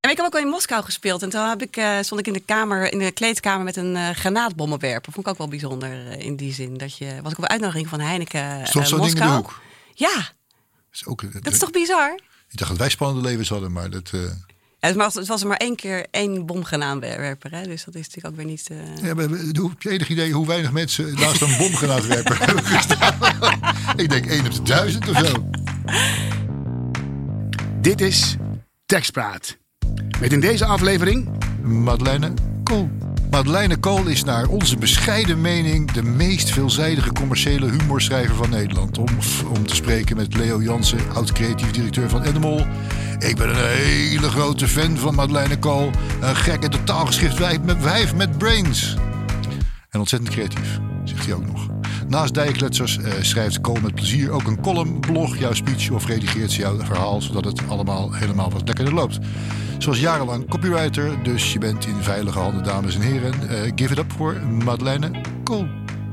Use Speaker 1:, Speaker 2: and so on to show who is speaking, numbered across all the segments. Speaker 1: ik heb ook al in Moskou gespeeld. En toen heb ik, eh, stond ik in de, kamer, in de kleedkamer met een eh granaatbommenwerper. Vond ik ook wel bijzonder eh, in die zin. Dat je, was ik op een uitnodiging van Heineken
Speaker 2: Stond
Speaker 1: eh,
Speaker 2: zo'n ding in de
Speaker 1: Moskou.
Speaker 2: hoek?
Speaker 1: Ja,
Speaker 2: Is ook, eh,
Speaker 1: dat is toch bizar?
Speaker 2: Ik dacht dat wij spannende levens hadden, maar dat... eh,
Speaker 1: Ja, het was- het was er maar één keer één bomgranaatwerper. Hè? Dus dat is natuurlijk ook weer niet... eh,
Speaker 2: Ja, maar hoe- heb je enig idee hoe weinig mensen naast een bomgranaatwerper hebben gestaan? ik denk 1 op de duizend of zo.
Speaker 3: Dit is Tekstpraat. Met in deze aflevering
Speaker 2: Madeleine Kool. Madeleine Kool is naar onze bescheiden mening de meest veelzijdige commerciële humorschrijver van Nederland. Om, om te spreken met Leo Jansen, oud-creatief directeur van Animal. Ik ben een hele grote fan van Madeleine Kool. Een gekke totaalgeschikt wijf met, wijf met brains. En ontzettend creatief, zegt hij ook nog. Naast Dijkletsers eh, schrijft Kool met plezier ook een column, blog, jouw speech of redigeert ze jouw verhaal, zodat het allemaal helemaal wat lekkerder loopt. Ze was jarenlang copywriter, dus je bent in veilige handen, dames en heren. Eh, give it up voor Madeleine Kool.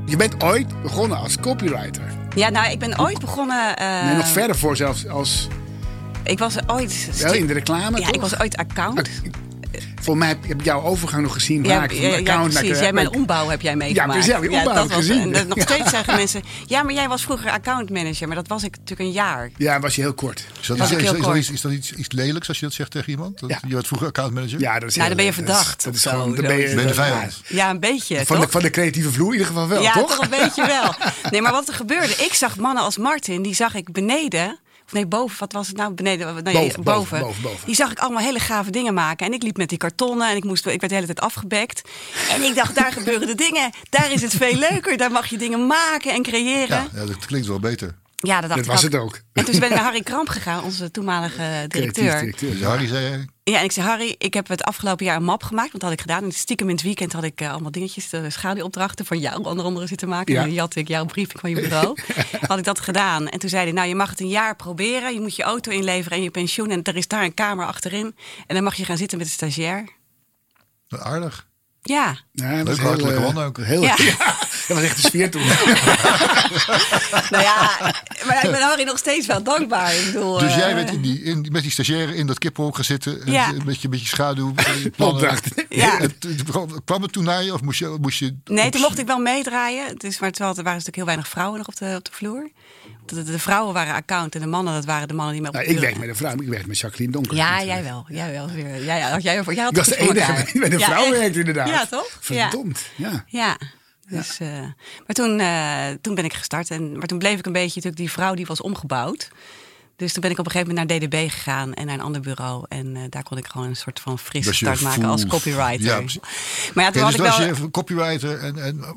Speaker 3: Je bent ooit begonnen als copywriter.
Speaker 1: Ja, nou, ik ben ooit begonnen... eh,
Speaker 3: en nog verder voor zelfs als
Speaker 1: Ik was ooit...
Speaker 3: wel in de reclame.
Speaker 1: ja,
Speaker 3: toch?
Speaker 1: ik was ooit account.
Speaker 3: Voor mij heb heb ik jouw overgang nog gezien.
Speaker 1: Ja,
Speaker 3: waar ik van
Speaker 1: ja,
Speaker 3: de
Speaker 1: ja,
Speaker 3: account naar
Speaker 1: precies.
Speaker 3: de-
Speaker 1: Jij mijn ombouw heb jij meegemaakt.
Speaker 3: precies, ja, die ombouw
Speaker 1: dat
Speaker 3: heb ik gezien.
Speaker 1: en dat- nog
Speaker 3: Ja.
Speaker 1: steeds zeggen mensen... Ja, maar jij was vroeger accountmanager. Maar dat was ik natuurlijk een jaar.
Speaker 3: Ja, was je heel kort.
Speaker 2: Is dat,
Speaker 1: Ja.
Speaker 2: is, is-
Speaker 1: Heel
Speaker 2: is- is-
Speaker 1: kort.
Speaker 2: is- is dat iets, iets lelijks als je dat zegt tegen iemand? Dat-
Speaker 3: Ja.
Speaker 2: Je werd vroeger accountmanager.
Speaker 3: Ja, dat is
Speaker 1: Nou,
Speaker 3: heel-
Speaker 1: dan ben je
Speaker 3: dat is-
Speaker 1: verdacht
Speaker 3: Dat is
Speaker 1: of
Speaker 3: gewoon,
Speaker 1: zo.
Speaker 3: dan ben je,
Speaker 2: Ben je de vijand?
Speaker 1: Ja, een beetje,
Speaker 3: Van de,
Speaker 1: toch?
Speaker 3: van de creatieve vloer in ieder geval wel,
Speaker 1: ja,
Speaker 3: toch?
Speaker 1: een beetje wel. Nee, maar wat er gebeurde... Ik zag mannen als Martin, die zag ik beneden... Of nee, boven, wat was het nou? Beneden, nee,
Speaker 3: Boven, boven, boven, boven.
Speaker 1: Die zag ik allemaal hele gave dingen maken. En ik liep met die kartonnen en ik, moest, ik werd de hele tijd afgebekt. En ik dacht, daar gebeuren de dingen. Daar is het veel leuker. Daar mag je dingen maken en creëren.
Speaker 2: Ja, ja, dat klinkt wel beter.
Speaker 1: Ja, dat dacht
Speaker 3: Dat
Speaker 1: ik
Speaker 3: was het ook.
Speaker 1: En toen ben ik naar Harry Kramp gegaan, onze toenmalige
Speaker 3: Creatief
Speaker 1: directeur.
Speaker 2: Dus
Speaker 3: ja.
Speaker 2: Harry zei, eh,
Speaker 1: Ja, en ik zei, Harry, ik heb het afgelopen jaar een map gemaakt. Want dat had ik gedaan. En stiekem in het weekend had ik eh, allemaal dingetjes, de schaduwopdrachten van jou onder andere zitten maken.
Speaker 3: Ja.
Speaker 1: En dan jatte ik jouw brief van je bureau. had ik dat gedaan. En toen zei hij, nou, je mag het een jaar proberen. Je moet je auto inleveren en je pensioen. En er is daar een kamer achterin. En dan mag je gaan zitten met de stagiair.
Speaker 2: eh, aardig.
Speaker 1: Ja,
Speaker 3: Ja, dat
Speaker 2: Leuk,
Speaker 3: was heel,
Speaker 2: hartelijke
Speaker 3: eh,
Speaker 2: man ook.
Speaker 3: Heel, ja.
Speaker 1: Ja.
Speaker 3: dat was echt de sfeer toen.
Speaker 1: nou ja, maar ik ben Harry nog steeds wel dankbaar. Ik bedoel,
Speaker 2: Dus jij
Speaker 1: eh,
Speaker 2: bent in die, in, met die stagiaire in dat kippenhok gaan zitten. eh,
Speaker 1: Ja.
Speaker 2: Met je, met je schaduw. eh, plannen.
Speaker 3: Opdracht.
Speaker 1: Ja.
Speaker 2: En toen- kwam het toen naar je of moest je... Moest je
Speaker 1: Nee, toen mocht ik wel meedraaien. Het is, maar terwijl er waren natuurlijk heel weinig vrouwen nog op de, op de vloer. De, de- de vrouwen waren account en de mannen, dat waren de mannen die me op de
Speaker 3: Nou, ik
Speaker 1: vloer-
Speaker 3: werk met een vrouw, ik werk met Jacqueline Donker. eh,
Speaker 1: Ja,
Speaker 3: natuurlijk.
Speaker 1: jij wel. Jij wel weer. Jij, had- jij, jij, had
Speaker 3: Ik was
Speaker 1: het
Speaker 3: de
Speaker 1: goed voor
Speaker 3: enige
Speaker 1: elkaar.
Speaker 3: die met een
Speaker 1: Ja,
Speaker 3: vrouw
Speaker 1: echt.
Speaker 3: werkt, inderdaad.
Speaker 1: Ja, toch?
Speaker 3: Verdomd, ja.
Speaker 1: Ja. ja. Dus, eh, maar toen, eh, toen ben ik gestart. En, maar toen bleef ik een beetje natuurlijk die vrouw die was omgebouwd. Dus toen ben ik op een gegeven moment naar DDB gegaan en naar een ander bureau. En eh, daar kon ik gewoon een soort van frisse
Speaker 2: Dat je
Speaker 1: start maken als
Speaker 2: voelt.
Speaker 1: copywriter.
Speaker 2: Ja, precies.
Speaker 1: maar ja, toen
Speaker 2: Ja,
Speaker 1: had
Speaker 2: dus
Speaker 1: ik
Speaker 2: was
Speaker 1: wel...
Speaker 2: je copywriter en, en uh,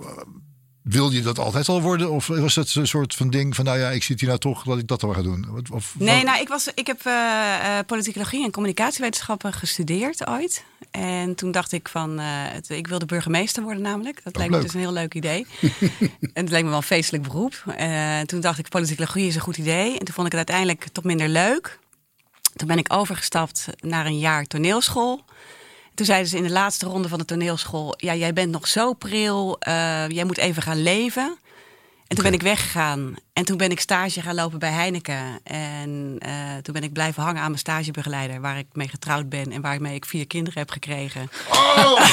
Speaker 2: wilde je dat altijd al worden? Of was dat een soort van ding van, nou ja, ik zit hier nou toch, dat ik dat al ga doen? Wat- Of,
Speaker 1: Nee,
Speaker 2: wat-
Speaker 1: nou, ik, was, ik heb eh, eh, politicologie en communicatiewetenschappen gestudeerd ooit. En toen dacht ik van, eh, het, ik wilde burgemeester worden namelijk. Dat lijkt me
Speaker 2: leuk.
Speaker 1: dus een heel leuk idee. en het leek me wel een feestelijk beroep. Eh, toen dacht ik, politicologie is een goed idee. En toen vond ik het uiteindelijk toch minder leuk. Toen ben ik overgestapt naar een jaar toneelschool. Toen zeiden ze in de laatste ronde van de toneelschool... ja, jij bent nog zo pril, eh, jij moet even gaan leven. En toen ben ik weggegaan. En toen ben ik stage gaan lopen bij Heineken. En eh, toen ben ik blijven hangen aan mijn stagebegeleider... waar ik mee getrouwd ben en waarmee ik vier kinderen heb gekregen.
Speaker 2: Oh!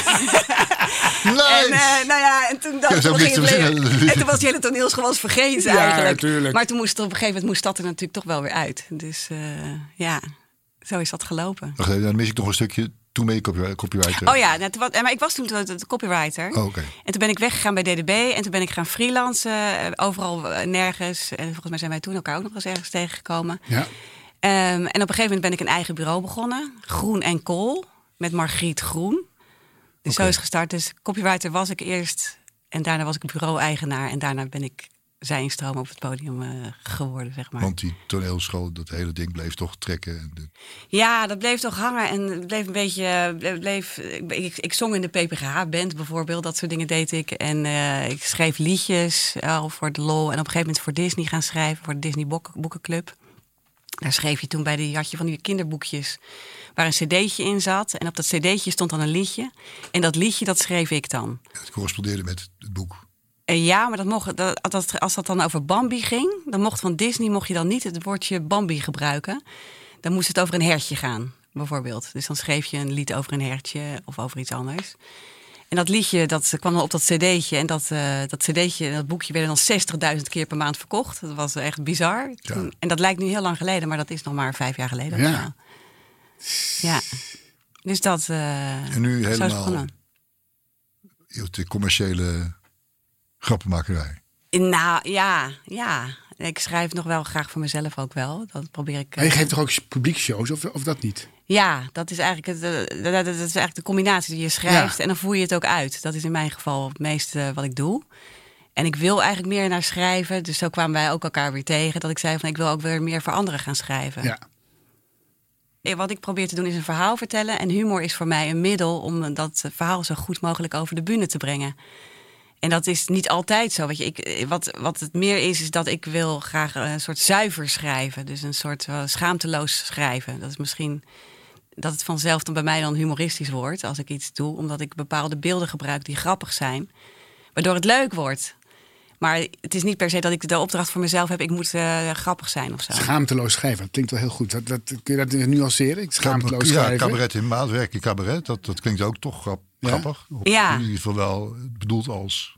Speaker 2: nice!
Speaker 1: En, eh, nou ja, en toen
Speaker 2: Ja,
Speaker 1: dacht
Speaker 2: zo
Speaker 1: toen ging
Speaker 2: niks te
Speaker 1: het
Speaker 2: verzinnen.
Speaker 1: leven- En eh, toen was die hele toneelschool wel eens vergeten
Speaker 3: Ja,
Speaker 1: eigenlijk.
Speaker 3: tuurlijk.
Speaker 1: Maar toen moest het op een gegeven moment moest dat er natuurlijk toch wel weer uit. Dus eh, ja, zo is dat gelopen.
Speaker 2: Wacht even, dan mis ik nog een stukje. Toen ben je copy- copywriter.
Speaker 1: Oh ja, net, wat, maar ik was toen de, de- de copywriter.
Speaker 2: Oh, oké.
Speaker 1: En toen ben ik weggegaan bij DDB en toen ben ik gaan freelancen. eh, Overal eh, nergens. En volgens mij zijn wij toen elkaar ook nog eens ergens tegengekomen.
Speaker 3: Ja.
Speaker 1: Ehm, en op een gegeven moment ben ik een eigen bureau begonnen. Groen en Kool, met Margriet Groen. Dus zo is het gestart. Dus copywriter was ik eerst. En daarna was ik bureau-eigenaar. En daarna ben ik zijnstroom op het podium eh, geworden, zeg maar.
Speaker 2: Want die toneelschool, dat hele ding bleef toch trekken. En de-
Speaker 1: Ja, dat bleef toch hangen. En het bleef een beetje... eh, bleef- Bleef, ik, ik, ik zong in de PPGH-band bijvoorbeeld. Dat soort dingen deed ik. En eh, ik schreef liedjes eh, voor de lol. En op een gegeven moment voor Disney gaan schrijven. Voor de Disney Bok- Boekenclub. Daar schreef je toen bij die, had je van die kinderboekjes waar een cd'tje in zat. En op dat cd'tje stond dan een liedje. En dat liedje, dat schreef ik dan.
Speaker 2: het correspondeerde met het boek.
Speaker 1: Eh, ja, maar dat mocht, dat, dat- als dat dan over Bambi ging, dan mocht van Disney mocht je dan niet het woordje Bambi gebruiken. Dan moest het over een hertje gaan. bijvoorbeeld. Dus dan schreef je een lied over een hertje of over iets anders. En dat liedje dat kwam dan op dat cd'tje. En dat, eh, dat cd'tje en dat boekje werden dan 60.000 keer per maand verkocht. Dat was echt bizar. Toen- en dat lijkt nu heel lang geleden, maar dat is nog maar vijf jaar geleden. of
Speaker 3: Ja.
Speaker 1: zo. ja. Dus dat... eh,
Speaker 2: En
Speaker 1: zo
Speaker 2: nu
Speaker 1: is het
Speaker 2: helemaal
Speaker 1: begonnen.
Speaker 2: de commerciële grappenmakerij.
Speaker 1: Nou, ja, ja. Ik schrijf nog wel graag voor mezelf ook wel. Dat probeer ik. eh,
Speaker 3: Maar je geeft toch ook publiekshows of, of dat niet?
Speaker 1: Ja, dat is, eigenlijk het, eh, dat, dat is eigenlijk de combinatie die je schrijft.
Speaker 3: Ja.
Speaker 1: En dan voer je het ook uit. Dat is in mijn geval het meeste eh, wat ik doe. En ik wil eigenlijk meer naar schrijven. Dus zo kwamen wij ook elkaar weer tegen. Dat ik zei van ik wil ook weer meer voor anderen gaan schrijven.
Speaker 3: Ja.
Speaker 1: Eh, Wat ik probeer te doen is een verhaal vertellen. En humor is voor mij een middel om eh, dat verhaal zo goed mogelijk over de bühne te brengen. En dat is niet altijd zo. Weet je, ik, eh, wat, wat het meer is, is dat ik wil graag eh, een soort zuiver schrijven. Dus een soort eh, schaamteloos schrijven. Dat is misschien dat het vanzelf dan bij mij dan humoristisch wordt als ik iets doe. Omdat ik bepaalde beelden gebruik die grappig zijn. Waardoor het leuk wordt. Maar het is niet per se dat ik de opdracht voor mezelf heb. Ik moet eh, grappig zijn of zo.
Speaker 3: Schaamteloos schrijven, dat klinkt wel heel goed. Dat, dat, kun je dat nuanceren? Schaamteloos
Speaker 2: ja,
Speaker 3: schrijven.
Speaker 2: cabaret in maatwerk, cabaret, dat, dat klinkt ook toch grap-
Speaker 3: Ja?
Speaker 2: grappig. Of
Speaker 1: Ja.
Speaker 2: In ieder geval wel bedoeld als.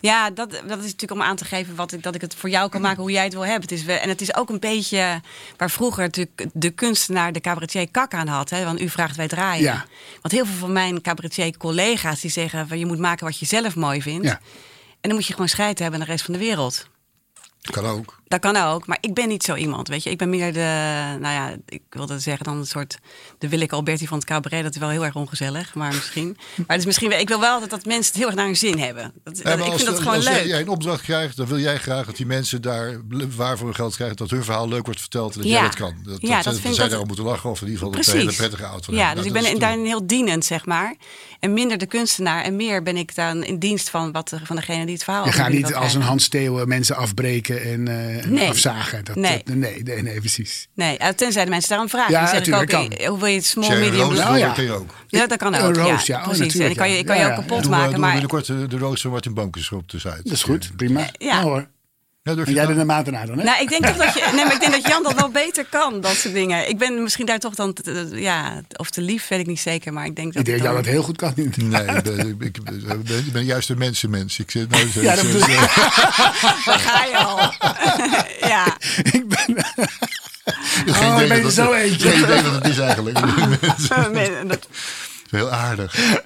Speaker 1: Ja, dat, dat is natuurlijk om aan te geven wat ik, dat ik het voor jou kan maken hoe jij het wil hebben. Het is, we- en het is ook een beetje waar vroeger natuurlijk de kunstenaar, de cabaretier kak aan had. Hè, want u vraagt wij draaien.
Speaker 3: Ja.
Speaker 1: Want heel veel van mijn cabaretier collega's die zeggen van je moet maken wat je zelf mooi vindt.
Speaker 3: Ja.
Speaker 1: En dan moet je gewoon scheid hebben aan de rest van de wereld.
Speaker 2: Kan ook.
Speaker 1: Dat kan ook, maar ik ben niet zo iemand, weet je. Ik ben meer de, nou ja, ik wilde zeggen dan een soort... de Willeke Alberti van het cabaret, dat is wel heel erg ongezellig, maar misschien. Maar het is misschien, wel- ik wil wel dat, dat mensen het heel erg naar hun zin hebben. Dat,
Speaker 2: Ja,
Speaker 1: dat-
Speaker 2: maar
Speaker 1: ik
Speaker 2: als,
Speaker 1: vind dat gewoon
Speaker 2: als
Speaker 1: leuk.
Speaker 2: jij een opdracht krijgt, dan wil jij graag dat die mensen daar waarvoor hun geld krijgen, dat hun verhaal leuk wordt verteld en dat jij
Speaker 1: Ja.
Speaker 2: dat kan. Dat,
Speaker 1: Ja, dat
Speaker 2: dat,
Speaker 1: vind ik
Speaker 2: zij
Speaker 1: dat-
Speaker 2: daarom moeten lachen of in ieder geval dat
Speaker 1: Precies.
Speaker 2: ze een hele prettige auto Nou,
Speaker 1: Ja, dus ik ben in- daarin heel dienend, zeg maar. En minder de kunstenaar en meer ben ik dan in dienst van, wat, de- van degene die het verhaal
Speaker 3: Je
Speaker 1: over
Speaker 3: gaat
Speaker 1: wil
Speaker 3: niet als een
Speaker 1: krijgen.
Speaker 3: Hans Steeuwen mensen afbreken en, eh, en
Speaker 1: Nee.
Speaker 3: afzagen. Dat,
Speaker 1: Nee.
Speaker 3: dat- nee, nee, nee, precies.
Speaker 1: Nee, eh, tenzij de mensen daarom vragen.
Speaker 3: Ja,
Speaker 1: Dan zeg ik ook,
Speaker 3: natuurlijk,
Speaker 1: eh, hoe wil je het small,
Speaker 2: Sharon
Speaker 1: medium,
Speaker 2: Roos
Speaker 1: large?
Speaker 3: Nou,
Speaker 2: doet
Speaker 3: ja.
Speaker 2: dat kun je ook.
Speaker 1: Ja, dat kan
Speaker 3: Een
Speaker 1: ook.
Speaker 3: roos, ja.
Speaker 1: ja,
Speaker 3: Oh,
Speaker 1: precies. en
Speaker 3: natuurlijk,
Speaker 1: dan kan
Speaker 3: ja.
Speaker 1: je, kan
Speaker 3: Ja,
Speaker 1: je
Speaker 3: ja.
Speaker 1: ook kapot
Speaker 2: Doen we,
Speaker 1: maken.
Speaker 2: doen we
Speaker 1: maar
Speaker 2: binnenkort eh, de Roos van Martin Bonkers op de site.
Speaker 3: Dat is goed, prima.
Speaker 1: Ja.
Speaker 3: Ja Nou, hoor.
Speaker 2: Ja, durf
Speaker 3: En
Speaker 2: je
Speaker 3: jij
Speaker 2: dat?
Speaker 3: er de maat aan dan, hè?
Speaker 1: Nou, ik denk toch dat je. Nee, maar ik denk dat Jan dat wel beter kan, dat soort dingen. Ik ben misschien daar toch dan. te- te- Ja, of te lief, weet ik niet zeker. Maar ik denk dat.
Speaker 3: ik denk
Speaker 1: het
Speaker 3: dat
Speaker 1: dan-
Speaker 3: dat heel goed kan.
Speaker 2: Nee, ik ben, ik, ik ben, ik ben juist een mensenmens. Ik zit nou,
Speaker 3: Ja, dat bedoel ik.
Speaker 1: Daar ga je al. ja.
Speaker 3: ik ben,
Speaker 2: Geen
Speaker 3: Oh,
Speaker 2: idee
Speaker 3: ik ben
Speaker 2: wat
Speaker 3: er zo
Speaker 2: het-
Speaker 3: eentje.
Speaker 2: Geen idee wat het is eigenlijk.
Speaker 1: Nee, dat,
Speaker 2: Heel aardig.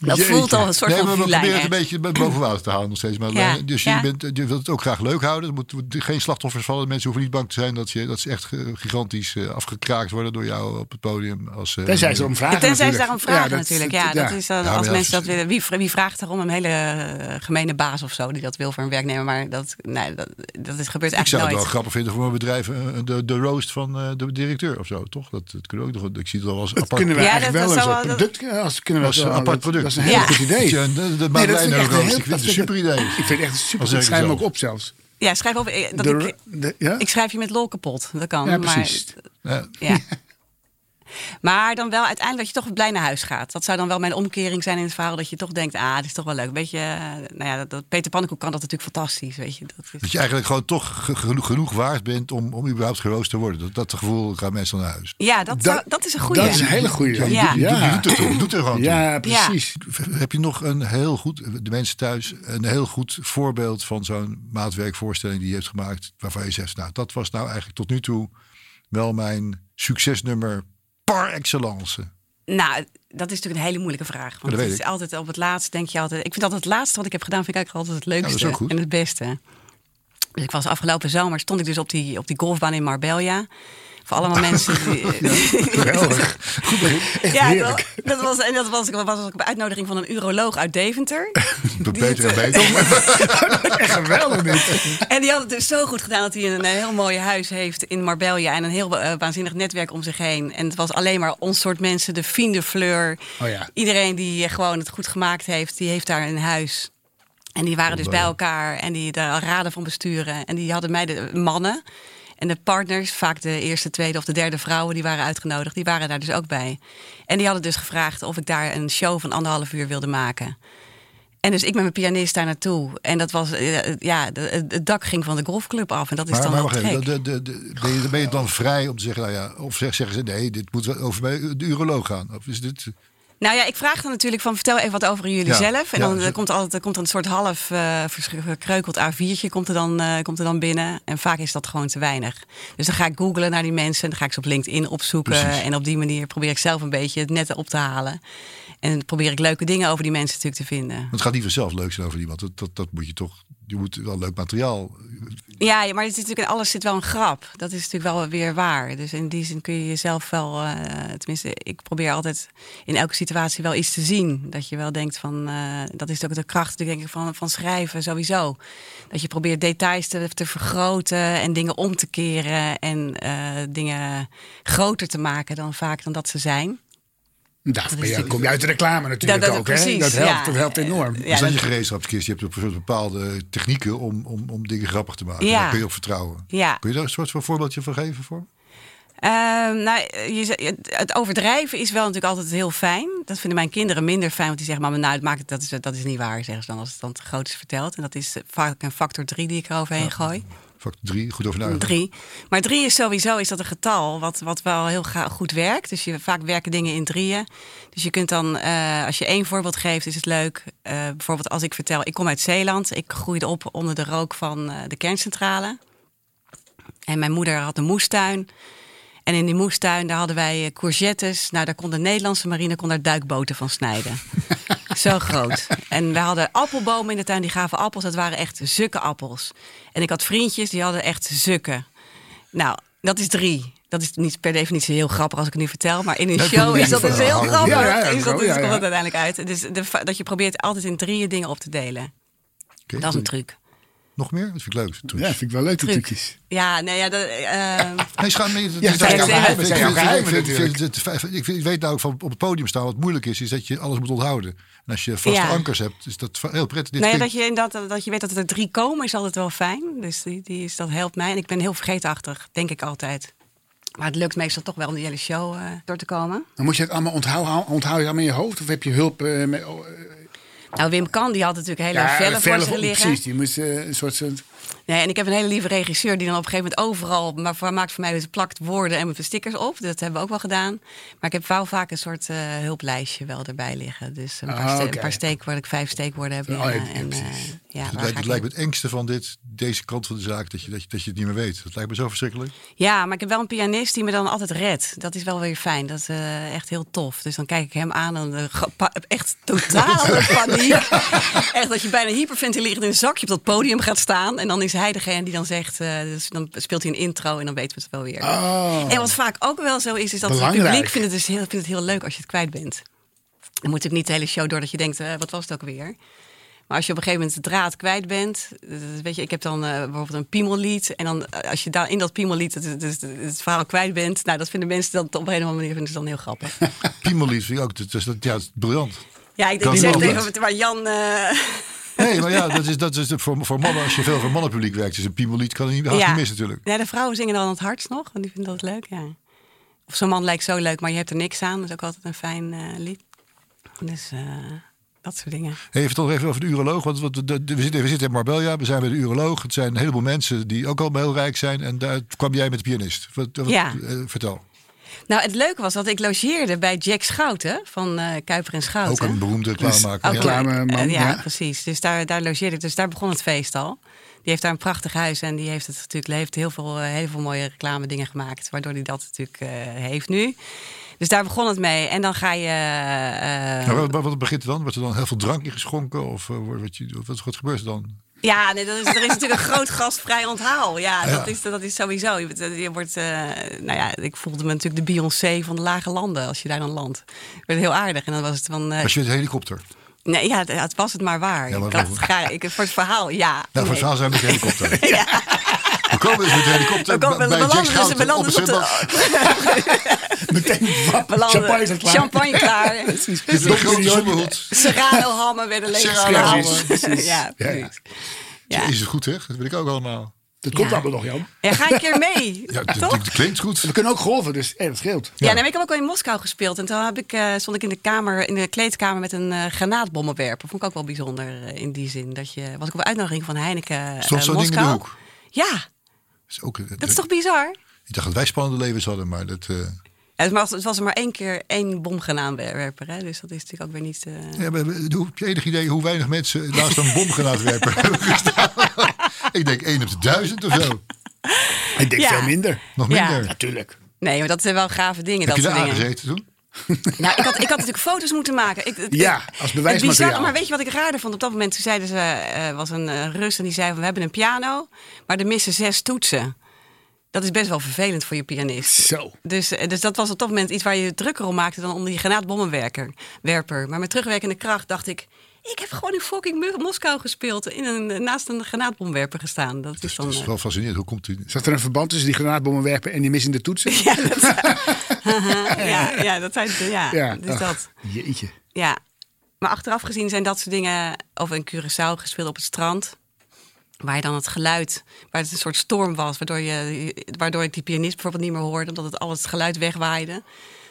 Speaker 1: dat voelt al een soort
Speaker 2: nee,
Speaker 1: van
Speaker 2: maar we
Speaker 1: filijn.
Speaker 2: proberen het een
Speaker 1: echt.
Speaker 2: beetje boven water te houden nog steeds. Maar
Speaker 1: Ja,
Speaker 2: eh, Dus je,
Speaker 1: ja.
Speaker 2: bent, je wilt het ook graag leuk houden. Er moet, moet geen slachtoffers vallen. Mensen hoeven niet bang te zijn dat, je, dat ze echt eh, gigantisch eh, afgekraakt worden door jou op het podium. Als, eh,
Speaker 3: tenzij ze erom vragen
Speaker 1: Tenzij ze
Speaker 3: natuurlijk.
Speaker 1: daarom vragen
Speaker 3: Ja, dat-
Speaker 1: natuurlijk. Ja, dat is dan
Speaker 2: Ja, maar
Speaker 1: als
Speaker 2: ja,
Speaker 1: mensen dat
Speaker 2: precies.
Speaker 1: willen. Wie, vra- wie vraagt daarom een hele eh, gemene baas of zo die dat wil voor een werknemer? Maar dat, nee, dat, dat is, gebeurt
Speaker 2: Ik zou
Speaker 1: eigenlijk
Speaker 2: het wel
Speaker 1: nooit.
Speaker 2: grappig vinden voor mijn bedrijf. eh, de, de roast van eh, de directeur of zo, toch? Dat, dat kunnen we ook nog. Ik zie het al als
Speaker 3: Dat
Speaker 2: apart.
Speaker 3: kunnen we
Speaker 1: Ja,
Speaker 3: eigenlijk
Speaker 1: dat-
Speaker 3: wel
Speaker 1: dat
Speaker 3: een
Speaker 1: zou
Speaker 3: soort
Speaker 1: wel-
Speaker 3: product. eh, Als kunnen we
Speaker 2: Als een
Speaker 3: dat-
Speaker 2: apart
Speaker 3: dat-
Speaker 2: product.
Speaker 3: Dat is een heel
Speaker 1: Ja.
Speaker 3: goed idee.
Speaker 2: Ja, de- de
Speaker 3: Nee, dat vind ik
Speaker 2: Madeleine
Speaker 3: echt een
Speaker 2: roast.
Speaker 3: heel-
Speaker 2: Ik vind het een
Speaker 3: dat vind
Speaker 2: super
Speaker 3: ik-
Speaker 2: idee.
Speaker 3: Ik vind het echt een
Speaker 2: Al
Speaker 3: super.
Speaker 2: zeg
Speaker 3: Ik
Speaker 2: ik
Speaker 3: schrijf hem
Speaker 2: zo.
Speaker 3: ook op zelfs.
Speaker 1: Ja, schrijf over. eh, Dat
Speaker 3: De-
Speaker 1: ik,
Speaker 3: de- ja?
Speaker 1: ik schrijf je met lol kapot. Dat kan.
Speaker 3: ja,
Speaker 1: maar-
Speaker 3: precies.
Speaker 2: Ja.
Speaker 1: Ja. Maar dan wel uiteindelijk dat je toch blij naar huis gaat. Dat zou dan wel mijn omkering zijn in het verhaal. Dat je toch denkt, ah, dit is toch wel leuk. Weet je, eh, nou ja, dat, dat- Peter Pannenkoek kan dat natuurlijk fantastisch. Weet je, dat
Speaker 2: Dat
Speaker 1: is...
Speaker 2: je eigenlijk gewoon toch ge- genoeg, genoeg waard bent om, om überhaupt geroost te worden. Dat, dat gevoel gaan mensen naar huis.
Speaker 1: Ja, dat,
Speaker 3: Dat-
Speaker 1: zou- dat is een goede.
Speaker 3: Dat is een hele goede.
Speaker 1: Ja.
Speaker 2: Je, doet- je doet het toch, je doet er gewoon toe.
Speaker 3: Ja, precies.
Speaker 2: Heb je nog een heel goed, de mensen thuis, een heel goed voorbeeld van zo'n maatwerkvoorstelling die je hebt gemaakt. Waarvan je zegt, nou dat was nou eigenlijk tot nu toe wel mijn succesnummer par excellence.
Speaker 1: Nou, dat is natuurlijk een hele moeilijke vraag. Want
Speaker 2: dat
Speaker 1: het
Speaker 2: weet
Speaker 1: is altijd op het laatst denk je altijd. Ik vind altijd het laatste wat ik heb gedaan, vind ik eigenlijk altijd het
Speaker 2: dat is
Speaker 1: leukste
Speaker 2: ook goed.
Speaker 1: en het beste. Dus ik was afgelopen zomer stond ik dus op die, op die golfbaan in Marbella. Voor allemaal mensen die.
Speaker 3: Geweldig. Echt
Speaker 1: Ja,
Speaker 3: heerlijk.
Speaker 1: dat, dat was, en dat was, was ook een uitnodiging van een uroloog uit Deventer. Die het,
Speaker 2: Beter
Speaker 1: eh,
Speaker 2: en beter.
Speaker 3: Echt geweldig dit.
Speaker 1: En die had het dus zo goed gedaan dat hij een, eh, heel mooi huis heeft in Marbella. En een heel eh, waanzinnig netwerk om zich heen. En het was alleen maar ons soort mensen, de fiende fleur.
Speaker 3: Oh ja.
Speaker 1: Iedereen die eh, gewoon het goed gemaakt heeft, die heeft daar een huis. En die waren dus bij elkaar en die daar raden van besturen. En die hadden mij de mannen en de partners, vaak de eerste, tweede of de derde vrouwen, die waren uitgenodigd. Die waren daar dus ook bij. En die hadden dus gevraagd of ik daar een show van anderhalf uur wilde maken. En dus ik met mijn pianist daar naartoe. En dat was, eh, ja, de- het het dak ging van de golfclub af. En dat is
Speaker 2: Maar,
Speaker 1: dan
Speaker 2: maar
Speaker 1: wel
Speaker 2: wacht even,
Speaker 1: gek.
Speaker 2: dat- dat- dat- ben je, ben je dan vrij om te zeggen, nou ja, of zeg- zeggen ze nee, dit moet wel over bij de uroloog gaan? Of is dit,
Speaker 1: Nou ja, ik vraag dan natuurlijk van vertel even wat over jullie
Speaker 2: Ja,
Speaker 1: zelf. En
Speaker 2: ja, dus-
Speaker 1: dan
Speaker 2: zo-
Speaker 1: eh, komt, er altijd, er komt er een soort half eh, vers- verkreukeld A4'tje komt er, dan, eh, komt er dan binnen. En vaak is dat gewoon te weinig. Dus dan ga ik googlen naar die mensen. En dan ga ik ze op LinkedIn opzoeken.
Speaker 2: Precies.
Speaker 1: En op die manier probeer ik zelf een beetje het net op te halen. En probeer ik leuke dingen over die mensen natuurlijk te vinden.
Speaker 2: het gaat niet vanzelf leuk zijn over iemand. Dat, dat, dat moet je toch, je moet wel leuk materiaal.
Speaker 1: Ja, ja, maar het is natuurlijk in alles zit wel een grap. Dat is natuurlijk wel weer waar. Dus in die zin kun je jezelf wel, eh, tenminste, ik probeer altijd in elke situatie wel iets te zien. Dat je wel denkt van, eh, dat is ook de kracht denk ik, van, van schrijven sowieso. Dat je probeert details te, te vergroten en dingen om te keren en eh, dingen groter te maken dan vaak dan dat ze zijn.
Speaker 3: Daarvoor ben je-
Speaker 1: natuurlijk-
Speaker 3: kom je uit de reclame natuurlijk
Speaker 1: Dat- dat-
Speaker 3: ook. hè?
Speaker 1: precies,
Speaker 3: Dat helpt,
Speaker 1: ja.
Speaker 3: dat helpt enorm.
Speaker 1: Ja,
Speaker 2: is dat,
Speaker 1: dat-
Speaker 2: Dus je gereedschapskist? Je hebt een bepaalde technieken om, om, om dingen grappig te maken.
Speaker 1: Ja.
Speaker 2: Daar kun je op vertrouwen.
Speaker 1: Ja.
Speaker 2: Kun je daar een soort van voorbeeldje van geven voor?
Speaker 1: Ehm, nou, je, ze- het- het overdrijven is wel natuurlijk altijd heel fijn. Dat vinden mijn kinderen minder fijn, want die zeggen: Mama, nou, het maakt, dat, is, dat is niet waar, zeggen ze dan als het dan te groot is verteld. En dat is vaak een factor 3 die ik eroverheen gooi.
Speaker 2: Factor 3, goed over nagedacht.
Speaker 1: Drie. Maar drie is sowieso is dat een getal wat, wat wel heel ga- goed werkt. Dus je, vaak werken dingen in drieën. Dus je kunt dan, eh, als je één voorbeeld geeft, is het leuk. Eh, bijvoorbeeld als ik vertel, ik kom uit Zeeland. Ik groeide op onder de rook van eh, de kerncentrale. En mijn moeder had een moestuin. En in die moestuin daar hadden wij eh, courgettes. Nou, daar kon de Nederlandse marine kon daar duikboten van snijden. Zo groot. En we hadden appelbomen in de tuin, die gaven appels. Dat waren echt zukke appels. En ik had vriendjes, die hadden echt zukken. Nou, dat is drie. Dat is niet per definitie heel grappig als ik het nu vertel. Maar in een
Speaker 2: Ja, ik vond
Speaker 1: show
Speaker 2: het
Speaker 1: is dat
Speaker 2: niet
Speaker 1: dus heel
Speaker 2: verhaal.
Speaker 1: grappig.
Speaker 3: Ja, ja, ja,
Speaker 1: is dat, dus
Speaker 3: ja, ja.
Speaker 1: komt het uiteindelijk uit. Dus de fa- dat je probeert altijd in drieën dingen op te delen.
Speaker 2: Oké.
Speaker 1: Dat is een truc.
Speaker 2: Nog meer? Dat vind ik leuk.
Speaker 3: Ja, vind ik wel leuk
Speaker 1: Truc.
Speaker 3: natuurlijk.
Speaker 1: Ja, nou ja, dat, eh,
Speaker 2: Nee, schaam me niet.
Speaker 3: Ja,
Speaker 2: Dat-
Speaker 3: zijn
Speaker 2: dat-
Speaker 1: jouw geheimen,
Speaker 2: dat-
Speaker 3: zijn jouw
Speaker 2: ik vind-
Speaker 3: geheimen
Speaker 2: ik vind-
Speaker 3: natuurlijk.
Speaker 2: het- het- het- Ik vind- ik weet nou ook van op het podium staan wat moeilijk is, is dat je alles moet onthouden. En als je vaste
Speaker 1: Ja.
Speaker 2: ankers hebt, is dat heel prettig. Dit
Speaker 1: Nou ja,
Speaker 2: klinkt-
Speaker 1: dat je, dat, dat je weet dat er drie komen is altijd wel fijn. Dus die, die is, dat helpt mij. En ik ben heel vergeetachtig, denk ik altijd. Maar het lukt meestal toch wel om die hele show eh, door te komen.
Speaker 3: Dan moet je het allemaal onthouden, onthoud je het allemaal in je hoofd? Of heb je hulp? eh, met, oh, eh,
Speaker 1: Nou, Wim Kan, die had natuurlijk hele vellen voor
Speaker 3: verf-
Speaker 1: zich liggen.
Speaker 3: Precies, die moest eh, een soort... soort-
Speaker 1: Nee, en ik heb een hele lieve regisseur die dan op een gegeven moment overal maar voor, maakt voor mij dus plakt woorden en met stickers op. Dat hebben we ook wel gedaan. Maar ik heb wel vaak een soort eh, hulplijstje wel erbij liggen. Dus een paar,
Speaker 3: Ah,
Speaker 1: ste-
Speaker 3: oké.
Speaker 1: een paar steekwoorden, ik vijf steekwoorden heb
Speaker 3: Oh, ja,
Speaker 1: liggen.
Speaker 3: ja,
Speaker 1: en, eh,
Speaker 3: precies.
Speaker 1: ja, waar
Speaker 2: het lijkt,
Speaker 1: ga
Speaker 2: het
Speaker 1: ik
Speaker 2: lijkt me het engste van dit, deze kant van de zaak, dat je, dat, je, dat je het niet meer weet. Dat lijkt me zo verschrikkelijk.
Speaker 1: Ja, maar ik heb wel een pianist die me dan altijd redt. Dat is wel weer fijn. Dat is eh, echt heel tof. Dus dan kijk ik hem aan en dan ga- pa- echt totale paniek. Echt dat je bijna hyperventilerend in een zakje op dat podium gaat staan. En dan is hij degene die dan zegt, eh, dus dan speelt hij een intro en dan weten we het wel weer.
Speaker 3: Oh.
Speaker 1: En wat vaak ook wel zo is, is dat
Speaker 3: Belangrijk.
Speaker 1: het publiek vindt het, dus heel, vindt het heel leuk als je het kwijt bent. Dan moet ik niet de hele show door dat je denkt, eh, wat was het ook weer? Maar als je op een gegeven moment de draad kwijt bent, eh, weet je, ik heb dan eh, bijvoorbeeld een piemellied. En dan eh, als je daar in dat piemellied het, het, het, het verhaal kwijt bent, nou dat vinden mensen dan op een of andere manier vinden ze dan heel grappig.
Speaker 2: Piemelief vind ik ook. Dat, is- dat, ja, dat is briljant.
Speaker 1: Ja, ik,
Speaker 2: Kan
Speaker 1: ik zeg
Speaker 2: ook
Speaker 1: tegen
Speaker 2: niet.
Speaker 1: wat- waar Jan. eh,
Speaker 2: Nee, maar ja, dat is, dat is voor, voor mannen, als je veel voor mannenpubliek werkt, is een piemelied kan er niet, haast
Speaker 1: ja.
Speaker 2: niet mis natuurlijk.
Speaker 1: Nee, de vrouwen zingen dan het hardst nog, want die vinden dat leuk. Ja. Of zo'n man lijkt zo leuk, maar je hebt er niks aan. Dat is ook altijd een fijn eh, lied. Dus eh, dat soort dingen.
Speaker 2: Hey, Even toch even over de uroloog. Want wat- de- de- we, zitten, we zitten in Marbella, we zijn bij de uroloog. Het zijn een heleboel mensen die ook al heel rijk zijn. En daar kwam jij met de pianist. Wat, wat-
Speaker 1: Ja.
Speaker 2: eh, vertel.
Speaker 1: Nou, het leuke was dat ik logeerde bij Jack Schouten van eh, Kuiper en Schouten.
Speaker 2: Ook een beroemde
Speaker 1: Dus Ook
Speaker 2: klaarmaker.
Speaker 1: leuk.
Speaker 2: Ja.
Speaker 3: reclameman,
Speaker 1: Eh, ja,
Speaker 3: ja.
Speaker 1: precies. Dus daar, daar logeerde ik. Dus daar begon het feest al. Die heeft daar een prachtig huis en die heeft het natuurlijk heeft heel, veel, eh, heel veel mooie reclame dingen gemaakt. Waardoor hij dat natuurlijk eh, heeft nu. Dus daar begon het mee. En dan ga je. eh,
Speaker 2: Nou, wat, wat- wat begint er dan? Wordt er dan heel veel drank ingeschonken? Of eh, wordt- wat, je- wat, wat gebeurt er dan?
Speaker 1: Ja, nee, dat is, er is natuurlijk een groot gastvrij onthaal. Ja, Dat, is, dat is sowieso. Je, wordt- je wordt, eh, nou ja, ik voelde me natuurlijk de Beyoncé van de lage landen als je daar dan landt. Ik werd heel aardig. En dan was het van. eh,
Speaker 2: Als je met een helikopter. Nou,
Speaker 1: nee, ja, het, het was het maar waar.
Speaker 2: Ja, maar
Speaker 1: ik had
Speaker 2: voor-
Speaker 1: het graag- ik, voor het verhaal, ja.
Speaker 2: Nou, voor
Speaker 1: Nee.
Speaker 2: het verhaal zijn we met een helikopter. We komen dus met een helikopter
Speaker 1: We komen-
Speaker 2: bij
Speaker 1: we
Speaker 2: Jack
Speaker 1: belanden dus- we
Speaker 2: Schouten
Speaker 1: belanden
Speaker 2: op een
Speaker 1: dus op de-
Speaker 2: zwembad.
Speaker 3: Meteen wap,
Speaker 1: belanden.
Speaker 3: champagne is al klaar.
Speaker 1: Champagne klaar.
Speaker 2: Met een grote zonnehoed.
Speaker 1: Serrano-hammen werden
Speaker 2: Serrano-hammen,
Speaker 1: leeggehaald.
Speaker 3: precies.
Speaker 1: ja, precies. Ja.
Speaker 2: Is het goed, hè? Dat wil ik ook allemaal.
Speaker 3: Dat komt
Speaker 1: Ja.
Speaker 3: allemaal nog, Jan.
Speaker 1: Ja, ga een keer mee,
Speaker 2: Ja, dat-
Speaker 1: toch?
Speaker 2: dat dat klinkt goed.
Speaker 3: We kunnen ook golven, dus eh, dat scheelt.
Speaker 1: Ja, nee, maar ik heb ook wel in Moskou gespeeld. En toen heb ik, eh, stond ik in de, kamer, in de kleedkamer met een eh granaatbommenwerper. Vond ik ook wel bijzonder eh, in die zin. Dat je, was ik op uitnodiging van Heineken
Speaker 2: Stond
Speaker 1: eh,
Speaker 2: zo'n ding in de
Speaker 1: Moskou.
Speaker 2: hoek?
Speaker 1: Ja,
Speaker 2: Is ook, eh,
Speaker 1: dat is toch bizar?
Speaker 2: Ik dacht dat wij spannende levens hadden, maar dat... eh,
Speaker 1: Het was, het was er maar één keer één bomgranaatwerper. Hè? Dus dat is natuurlijk ook weer niet... eh,
Speaker 2: Ja, maar hoe- heb je enig idee hoe weinig mensen naast een bomgranaatwerper hebben gestaan? ik denk 1 op de duizend of zo.
Speaker 3: Ik denk
Speaker 1: Ja.
Speaker 3: veel minder.
Speaker 2: Nog
Speaker 1: Ja.
Speaker 2: minder.
Speaker 3: Natuurlijk.
Speaker 1: Nee, maar dat zijn wel gave dingen.
Speaker 2: Heb
Speaker 1: dat
Speaker 2: je
Speaker 1: soort
Speaker 2: daar
Speaker 1: dingen.
Speaker 2: aangezeten toen?
Speaker 1: Nou, ik had, ik had natuurlijk foto's moeten maken. Ik, het-
Speaker 3: Ja,
Speaker 1: het- het
Speaker 3: als
Speaker 1: bizarre,
Speaker 3: bewijsmateriaal.
Speaker 1: maar weet je wat ik raarder vond? Op dat moment toen zeiden ze, eh, was een eh, Rus en die zei van, we hebben een piano, maar er missen zes toetsen. Dat is best wel vervelend voor je pianist.
Speaker 3: Zo.
Speaker 1: Dus, eh, dus dat was op dat moment iets waar je drukker om maakte dan om die granaatbommenwerker. Werper. Maar met terugwerkende kracht dacht ik, ik heb gewoon in fucking Mu- Moskou gespeeld. In een, eh, naast een granaatbommenwerper gestaan. Dat is
Speaker 3: dus
Speaker 1: dan...
Speaker 2: Dat is
Speaker 1: eh,
Speaker 2: wel fascinerend. Hoe komt u...
Speaker 3: Zat er een verband tussen die granaatbommenwerpen en die missende toetsen?
Speaker 1: ja, dat, ja, ja, dat zijn ze. Ja,
Speaker 3: Ja,
Speaker 1: dus
Speaker 3: ach.
Speaker 1: dat.
Speaker 3: Jeetje.
Speaker 1: Ja, maar achteraf gezien zijn dat soort dingen over een Curaçao gespeeld op het strand. Waar je dan het geluid, waar het een soort storm was, waardoor, je, waardoor ik die pianist bijvoorbeeld niet meer hoorde, omdat het al het geluid wegwaaide.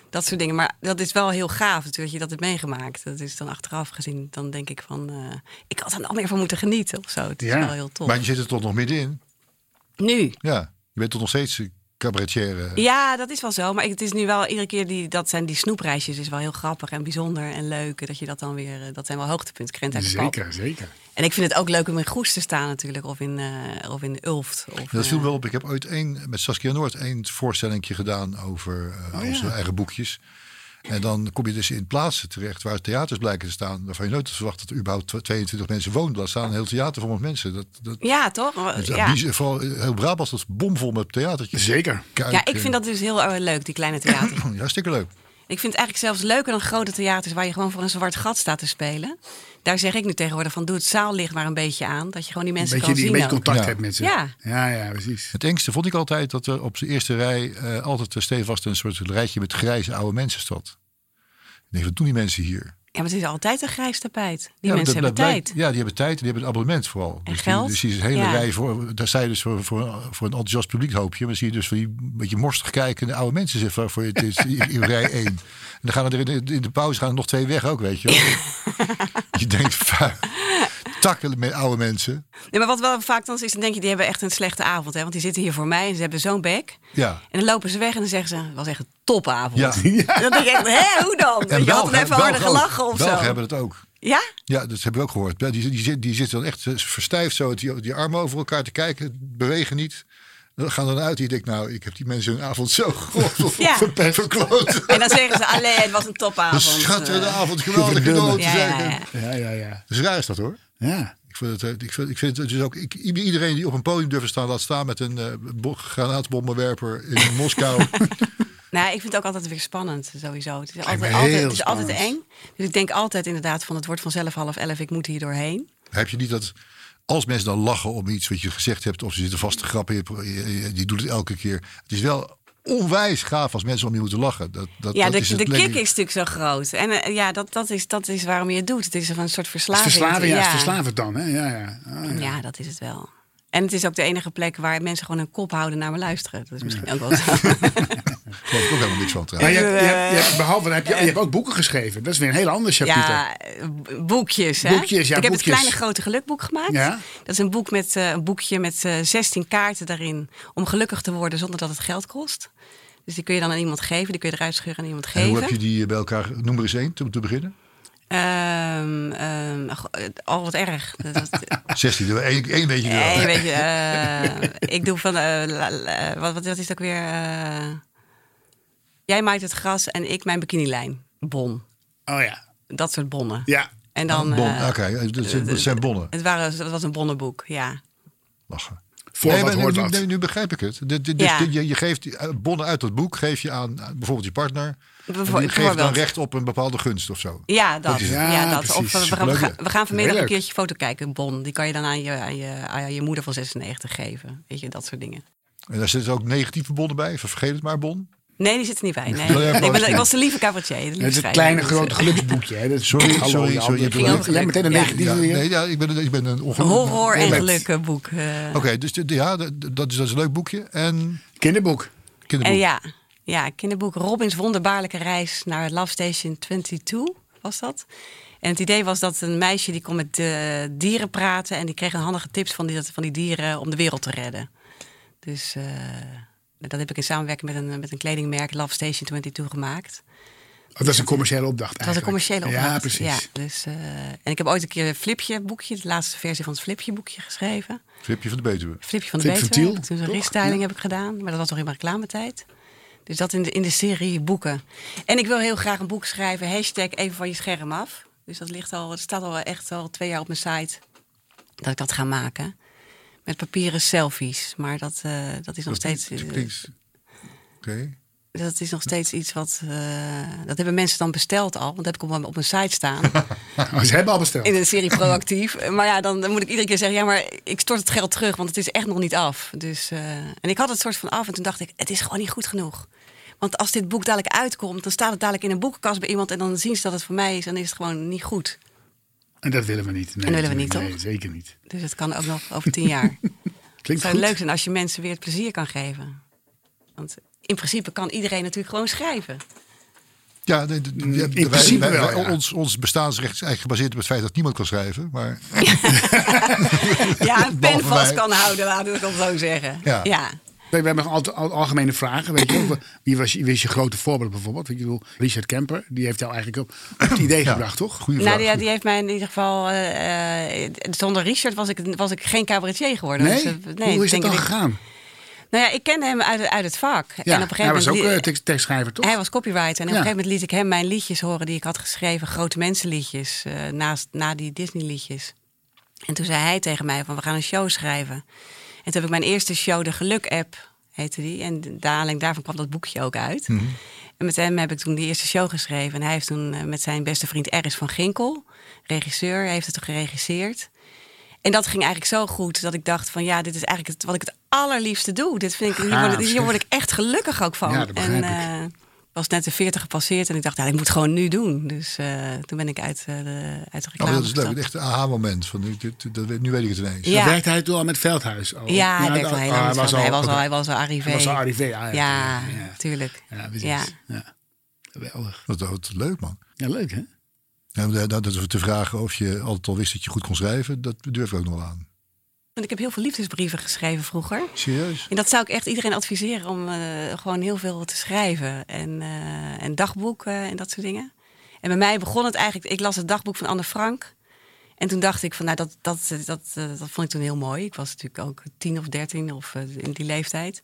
Speaker 1: Dat soort dingen. Maar dat is wel heel gaaf natuurlijk dat je dat hebt meegemaakt. Dat is dan achteraf gezien, dan denk ik van, eh, ik had er nog meer van moeten genieten of zo. Het is
Speaker 3: Ja,
Speaker 1: wel heel tof.
Speaker 2: Maar je zit er toch nog middenin?
Speaker 1: Nu,
Speaker 2: Ja. Je bent toch nog steeds eh, cabaretier? eh?
Speaker 1: Ja, dat is wel zo. Maar ik- het is nu wel iedere keer die, dat zijn die snoepreisjes is wel heel grappig en bijzonder en leuk. Dat je dat dan weer, eh, dat zijn wel hoogtepunten. Krent uit de pap.
Speaker 3: Zeker, zeker.
Speaker 1: En ik vind het ook leuk om in Goes te staan natuurlijk, of in, eh, of in Ulft. Of,
Speaker 2: Dat
Speaker 1: eh,
Speaker 2: viel wel op. Ik heb ooit één, met Saskia Noord één voorstelling gedaan over eh,
Speaker 1: Oh,
Speaker 2: onze eigen boekjes. En dan kom je dus in plaatsen terecht waar theaters blijken te staan. Waarvan je nooit had verwacht dat er überhaupt 22 mensen woonden. Daar staan een heel theater vol met mensen. Dat, dat,
Speaker 1: eh, Ja, toch?
Speaker 2: dat-
Speaker 1: Ja.
Speaker 2: die- vooral eh, heel Brabant was bomvol met theatertjes.
Speaker 3: Zeker.
Speaker 2: Kuik,
Speaker 1: ja, ik
Speaker 2: eh,
Speaker 1: vind dat dus heel eh, leuk, die kleine theater.
Speaker 2: Ja, Hartstikke leuk.
Speaker 1: ik vind het eigenlijk zelfs leuker dan grote theaters waar je gewoon voor een zwart gat staat te spelen. Daar zeg ik nu tegenwoordig van, doe het zaallicht maar een beetje aan. Dat je gewoon die
Speaker 3: Een
Speaker 1: mensen
Speaker 3: beetje, die, een
Speaker 1: kan
Speaker 3: beetje
Speaker 1: zien. ook.
Speaker 3: contact
Speaker 2: Ja.
Speaker 3: hebt met ze.
Speaker 1: Ja.
Speaker 3: ja, ja, precies.
Speaker 2: Het engste vond ik altijd dat er op de eerste rij eh, altijd eh, stevast een soort rijtje met grijze oude mensen stond. Ik denk, wat doen die mensen hier?
Speaker 1: Ja, maar het is altijd een grijs tapijt. Die
Speaker 2: Ja,
Speaker 1: mensen
Speaker 2: dat-
Speaker 1: hebben
Speaker 2: dat
Speaker 1: tijd.
Speaker 2: blijkt- Ja, die hebben tijd en die hebben een abonnement vooral. dus die-
Speaker 1: geld.
Speaker 2: dus die is een hele
Speaker 1: Ja.
Speaker 2: rij voor. Daar sta je dus voor, voor, voor een enthousiast publiek hoopje. Maar dan zie je dus van die beetje morstig kijkende oude mensen zitten voor- voor je het is in, in rij 1. En dan gaan er in, de- in de pauze gaan er nog twee weg ook, weet je wel. je denkt, fuck, takken met oude mensen.
Speaker 1: Nee, maar wat wel vaak dan is, dan denk je, die hebben echt een slechte avond. Hè? Want die zitten hier voor mij en ze hebben zo'n bek.
Speaker 2: Ja.
Speaker 1: En dan lopen ze weg en dan zeggen ze, het was echt een topavond.
Speaker 2: Ja.
Speaker 1: En dan denk je echt, hè, hoe dan? Weet je had
Speaker 2: Belgen-
Speaker 1: er even harder
Speaker 2: Belgen ook.
Speaker 1: gelachen of
Speaker 2: Belgen
Speaker 1: zo.
Speaker 2: hebben dat ook.
Speaker 1: Ja?
Speaker 2: Ja, dat hebben we ook gehoord. Ja, Die, die, zit- die zitten dan echt eh, verstijfd zo, die, die armen over elkaar te kijken, bewegen niet. Dan gaan dan uit. Die denkt, nou, ik heb die mensen hun avond zo god
Speaker 1: Ja.
Speaker 2: verpest, verkloot.
Speaker 1: En dan zeggen ze, allee, het was een
Speaker 2: Een
Speaker 1: topavond.
Speaker 2: schitterende
Speaker 1: Eh,
Speaker 2: avond, geweldig genoten.
Speaker 1: Ja, ja, ja.
Speaker 2: zeker.
Speaker 3: Ja, ja, ja.
Speaker 2: Dus raar is dat hoor.
Speaker 3: Ja,
Speaker 2: Ik vind het, eh, ik vind, ik vind het dus ook, ik, iedereen die op een podium durft te staan, laat staan met een eh, bo- granaatbommenwerper in Moskou.
Speaker 1: Nou, ik vind het ook altijd weer spannend, sowieso. Het is,
Speaker 3: Lijkt me
Speaker 1: altijd, altijd,
Speaker 3: heel
Speaker 1: het is altijd
Speaker 3: spannend.
Speaker 1: eng. Dus ik denk altijd inderdaad van, het wordt vanzelf half elf, ik moet hier doorheen.
Speaker 2: Heb je niet dat als mensen dan lachen om iets wat je gezegd hebt, of ze zitten vast te grappen, je- je- je- die doet het elke keer. Het is wel onwijs gaaf als mensen om je moeten lachen. Dat, dat,
Speaker 1: Ja,
Speaker 2: dat
Speaker 1: de,
Speaker 2: is het
Speaker 1: de
Speaker 2: lekker.
Speaker 1: kick is natuurlijk zo groot. En eh, ja, dat, dat, is, dat is waarom je het doet. Het is een soort
Speaker 3: Het is
Speaker 1: verslaving.
Speaker 3: verslavend, ja, het is verslavend dan. Hè? Ja, ja. Ah, ja.
Speaker 1: Ja, dat is het wel. En het is ook de enige plek waar mensen gewoon hun kop houden naar me luisteren. Dat is misschien ook wel zo.
Speaker 2: Daar geloof ik ook helemaal niks van
Speaker 3: Maar
Speaker 2: trouwens.
Speaker 3: je, hebt- je, hebt- je hebt- behalve, heb je, je hebt ook boeken geschreven. Dat is weer een heel ander chapitel.
Speaker 1: Ja, eh, boekjes. Hè?
Speaker 3: Boekjes, ja,
Speaker 1: Ik heb het
Speaker 3: boekjes.
Speaker 1: kleine grote gelukboek gemaakt.
Speaker 3: Ja.
Speaker 1: Dat is een, boek met, eh, een boekje met eh 16 kaarten daarin. Om gelukkig te worden zonder dat het geld kost. Dus die kun je dan aan iemand geven. Die kun je eruit scheuren aan iemand
Speaker 2: En
Speaker 1: geven.
Speaker 2: hoe heb je die eh, bij elkaar, noem er eens één, om te beginnen.
Speaker 1: Ehm, ehm, ach, eh, al wat erg. Dat, dat-
Speaker 2: 16, één, één weet je wel.
Speaker 1: Nee, weet je, eh, ik doe van, eh, la- la- wat, wat, wat is het ook weer? eh, jij maait het gras en ik mijn bikinilijn. Bon.
Speaker 3: Oh ja.
Speaker 1: Dat soort bonnen.
Speaker 3: Ja.
Speaker 1: En dan,
Speaker 2: Bon,
Speaker 1: eh,
Speaker 2: Oké, eh, dat zijn- dat zijn bonnen.
Speaker 1: het, waren, het was een bonnenboek, ja.
Speaker 2: Lachen.
Speaker 3: Voor
Speaker 2: Nee,
Speaker 3: wat
Speaker 2: maar
Speaker 3: hoort
Speaker 2: nu,
Speaker 3: wat.
Speaker 2: nu- nu begrijp ik het. Dit- dit- dus
Speaker 1: Ja.
Speaker 2: dit- je, je geeft die, eh, bonnen uit dat boek, geef je aan eh, bijvoorbeeld je partner. En die geeft dan
Speaker 1: bijvoorbeeld.
Speaker 2: recht op een bepaalde gunst of zo.
Speaker 1: Ja, dat.
Speaker 3: is het.
Speaker 1: Ja,
Speaker 3: Ja,
Speaker 1: dat. Of,
Speaker 3: precies.
Speaker 1: we, gaan, we gaan-
Speaker 2: Leuk.
Speaker 1: we gaan vanmiddag een
Speaker 3: Heerlijk.
Speaker 1: keertje foto kijken, bon. Die kan je dan aan je, aan je, aan je moeder van 96 geven. Weet je, dat soort dingen.
Speaker 2: En daar zitten ook negatieve bonnen bij. Vergeet het maar, bon.
Speaker 1: Nee, die zit er niet bij. Nee.
Speaker 2: Wil jij
Speaker 1: Nee, ik, ben-
Speaker 2: boos
Speaker 1: ik was de lieve cabaretier. de
Speaker 3: Het is
Speaker 1: lieve
Speaker 3: het kleine
Speaker 1: schrijver.
Speaker 3: grote geluksboekje. Hè? Dat is,
Speaker 2: Sorry,
Speaker 3: Hallo,
Speaker 2: sorry,
Speaker 3: Jan.
Speaker 2: sorry,
Speaker 3: Je
Speaker 2: ik
Speaker 3: hebt
Speaker 1: heb
Speaker 3: alleen- alleen meteen een
Speaker 1: Ja.
Speaker 3: negatieve
Speaker 2: Ja,
Speaker 3: weer.
Speaker 2: nee, ja, ik, ben, ik ben een
Speaker 1: Een
Speaker 2: ongelukkig.
Speaker 1: horror- en
Speaker 3: Roulette.
Speaker 1: gelukkenboek. eh.
Speaker 2: Oké, dus de- ja, de- de- dat is, dat is een leuk boekje. En
Speaker 3: Kinderboek.
Speaker 2: kinderboek.
Speaker 1: En Eh, ja, ja, kinderboek Robins wonderbaarlijke reis naar Love Station 22 was dat. En het idee was dat een meisje die kon met eh, dieren praten en die kreeg een handige tips van die, dat- van die dieren om de wereld te redden. Dus eh, dat heb ik in samenwerking met een, met een kledingmerk Love Station 22 gemaakt.
Speaker 3: Oh, dat is een commerciële opdracht
Speaker 1: Het was een
Speaker 3: eigenlijk.
Speaker 1: commerciële opdracht.
Speaker 3: Ja, precies.
Speaker 1: Ja, dus, eh, en ik heb ooit een keer een flipje boekje, de laatste versie van het flipje boekje geschreven.
Speaker 2: Flipje van de Betuwe.
Speaker 1: Flipje van de
Speaker 3: Flip
Speaker 1: Betuwe.
Speaker 3: Ventiel,
Speaker 1: Toen een
Speaker 3: toch?
Speaker 1: restyling
Speaker 3: Ja.
Speaker 1: heb ik gedaan, maar dat was nog in mijn reclametijd. Dus dat in de, in de serie boeken. En ik wil heel graag een boek schrijven, hashtag even van je scherm af. Dus dat ligt al, het staat al echt al twee jaar op mijn site dat ik dat ga maken. Met papieren selfies. Maar dat, eh, dat is nog steeds. eh,
Speaker 2: Dat klinkt- Oké.
Speaker 1: Dat is nog steeds iets wat. eh, dat hebben mensen dan besteld al. Want dat heb ik op mijn, op mijn site staan.
Speaker 3: Oh, ze hebben al besteld.
Speaker 1: In een serie proactief. Maar ja, dan moet ik iedere keer zeggen: ja, maar ik stort het geld terug, want het is echt nog niet af. Dus, eh, en ik had het soort van af en toen dacht ik: het is gewoon niet goed genoeg. Want als dit boek dadelijk uitkomt, dan staat het dadelijk in een boekenkast bij iemand en dan zien ze dat het voor mij is en dan is het gewoon niet goed.
Speaker 3: En dat willen we niet. Nee,
Speaker 1: En dat willen we
Speaker 3: natuurlijk.
Speaker 1: niet,
Speaker 3: Nee, zeker niet.
Speaker 1: Dus het kan ook nog over tien jaar. Het
Speaker 3: Klinkt
Speaker 1: zou
Speaker 3: goed.
Speaker 1: leuk zijn als je mensen weer het plezier kan geven. Want in principe kan iedereen natuurlijk gewoon schrijven.
Speaker 2: Ja, nee, d- ja,
Speaker 3: Mm, in
Speaker 2: wij-
Speaker 3: principe
Speaker 2: wij-
Speaker 3: wel,
Speaker 2: wij-
Speaker 3: ja.
Speaker 2: ons, ons bestaansrecht is eigenlijk gebaseerd op het feit dat niemand kan schrijven. Maar
Speaker 1: Ja, een pen
Speaker 2: Behalve
Speaker 1: vast
Speaker 2: mij.
Speaker 1: kan houden, laten we het dan zo zeggen.
Speaker 2: Ja.
Speaker 3: We, we hebben nog al, al- algemene vragen. Weet je, wel. wie, was, je- wie is je grote voorbeeld bijvoorbeeld? Ik bedoel, Richard Kemper, die heeft jou eigenlijk op, op het idee
Speaker 2: Ja.
Speaker 3: gebracht, toch?
Speaker 2: goede vraag.
Speaker 1: Nou, die, die heeft mij in ieder geval. eh, eh, zonder Richard was ik, was ik geen cabaretier geworden.
Speaker 3: Nee?
Speaker 1: Dus, eh,
Speaker 3: Hoe is
Speaker 1: denk
Speaker 3: dat dan
Speaker 1: ik-
Speaker 3: gegaan?
Speaker 1: Nou ja, ik kende hem uit, het- uit het vak.
Speaker 3: Ja,
Speaker 1: en op een gegeven
Speaker 3: hij was
Speaker 1: moment.
Speaker 3: ook
Speaker 1: li-
Speaker 3: eh, tekst- tekstschrijver, toch?
Speaker 1: hij was copywriter. En op
Speaker 3: Ja.
Speaker 1: een gegeven moment liet ik hem mijn liedjes horen die ik had geschreven. Grote mensenliedjes. eh, naast, na die Disney liedjes. En toen zei hij tegen mij van we gaan een show schrijven. En toen heb ik mijn eerste show, de Geluk App heette die. En de de aanleiding daarvan kwam dat boekje ook uit.
Speaker 3: Mhm.
Speaker 1: En met hem heb ik toen die eerste show geschreven. En hij heeft toen eh, met zijn beste vriend Eris van Ginkel, regisseur, heeft het geregisseerd. En dat ging eigenlijk zo goed dat ik dacht van ja, dit is eigenlijk het, wat ik het allerliefste doe. Dit vind ik, hier,
Speaker 3: Gaaf,
Speaker 1: word, ik- hier
Speaker 3: zeg.
Speaker 1: word ik echt gelukkig ook van.
Speaker 3: Ja, dat begrijp
Speaker 1: en,
Speaker 3: ik.
Speaker 1: eh, was net de 40 gepasseerd en ik dacht, ja, ik moet het gewoon nu doen. Dus eh, toen ben ik uit, eh, de, uit de
Speaker 2: Ja,
Speaker 1: reclame
Speaker 2: maar dat is leuk.
Speaker 1: gestapt.
Speaker 2: Echt een aha-moment. van dit- dit- dat weet- Nu weet ik het ineens.
Speaker 1: Ja.
Speaker 3: Werkte hij toen al met Veldhuis? al?
Speaker 1: Ja, hij werkte
Speaker 3: dat-
Speaker 1: al heel
Speaker 3: ah,
Speaker 1: lang. met Veldhuis. Hij was al,
Speaker 3: oké.
Speaker 1: hij was al arrivé.
Speaker 3: Hij was al arrivé, ja, ja,
Speaker 1: Ja,
Speaker 3: ja, ja.
Speaker 1: tuurlijk.
Speaker 3: Ja, precies.
Speaker 1: Ja.
Speaker 3: Ja. Geweldig.
Speaker 2: Dat, dat leuk, man.
Speaker 3: Ja, leuk hè?
Speaker 2: Ja, maar dat is te vragen of je altijd al wist dat je goed kon schrijven, dat durf ik ook nog wel aan.
Speaker 1: Want ik heb heel veel liefdesbrieven geschreven vroeger.
Speaker 2: Serieus?
Speaker 1: En dat zou ik echt iedereen adviseren om eh, gewoon heel veel te schrijven. En, eh, en dagboeken en dat soort dingen. En bij mij begon het eigenlijk, ik las het dagboek van Anne Frank. En toen dacht ik van, nou, dat, dat, dat, eh, dat vond ik toen heel mooi. Ik was natuurlijk ook tien of dertien of eh, in die leeftijd.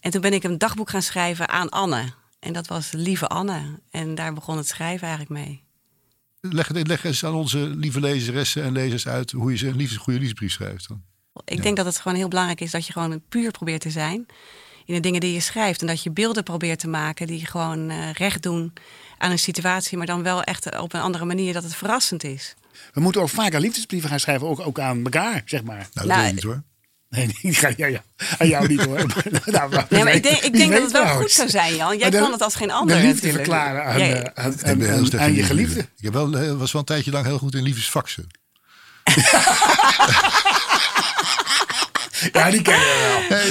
Speaker 1: En toen ben ik een dagboek gaan schrijven aan Anne. En dat was Lieve Anne. En daar begon het schrijven eigenlijk mee.
Speaker 2: Leg, het- leg eens aan onze lieve lezeressen en lezers uit hoe je ze een liefdes, goede liefdesbrief schrijft dan.
Speaker 1: Ik denk dat het gewoon heel belangrijk is dat je gewoon puur probeert te zijn in de dingen die je schrijft. En dat je beelden probeert te maken die gewoon eh, recht doen aan een situatie, maar dan wel echt op een andere manier dat het verrassend is.
Speaker 3: We moeten ook vaker liefdesbrieven gaan schrijven, ook, ook aan elkaar, zeg maar.
Speaker 2: Nou, dat
Speaker 1: Nou,
Speaker 2: weet ik niet hoor.
Speaker 3: Nee, nee, ik ga- ja, ja. Aan jou niet hoor. nou,
Speaker 1: Nee, maar ik denk, ik
Speaker 3: wie
Speaker 1: denk dat
Speaker 3: weet
Speaker 1: het wel
Speaker 3: trouwens.
Speaker 1: goed zou zijn, Jan. Jij
Speaker 3: Maar de-
Speaker 1: kan het als geen ander.
Speaker 3: De liefde
Speaker 1: natuurlijk.
Speaker 3: verklaren aan,
Speaker 1: Jij-
Speaker 3: eh, aan,
Speaker 2: Ik
Speaker 3: aan,
Speaker 2: ben heel
Speaker 3: aan-
Speaker 2: slecht
Speaker 3: aan
Speaker 2: in
Speaker 3: je
Speaker 2: liefdesbrieven.
Speaker 3: geliefde.
Speaker 2: Ik heb wel, eh, was wel een tijdje lang heel goed in liefdesfaxen.
Speaker 3: Ja, die ken je wel.